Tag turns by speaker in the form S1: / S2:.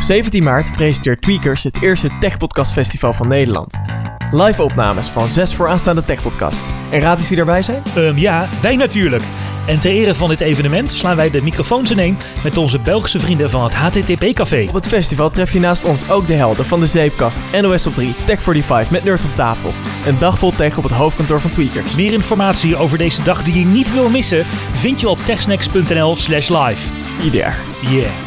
S1: 17 maart presenteert Tweakers het eerste Tech Podcast Festival van Nederland. Live opnames van zes vooraanstaande Tech Podcast. En raad eens wie erbij zijn?
S2: Ehm, ja, wij natuurlijk. En ter ere van dit evenement slaan wij de microfoons ineen met onze Belgische vrienden van het HTTP Café.
S1: Op het festival tref je naast ons ook de helden van de Zeepkast, NOS op 3, Tech45 met Nerds op tafel. Een dag vol tech op het hoofdkantoor van Tweakers.
S2: Meer informatie over deze dag die je niet wil missen, vind je op techsnacks.nl slash live.
S1: Ieder.
S2: Yeah.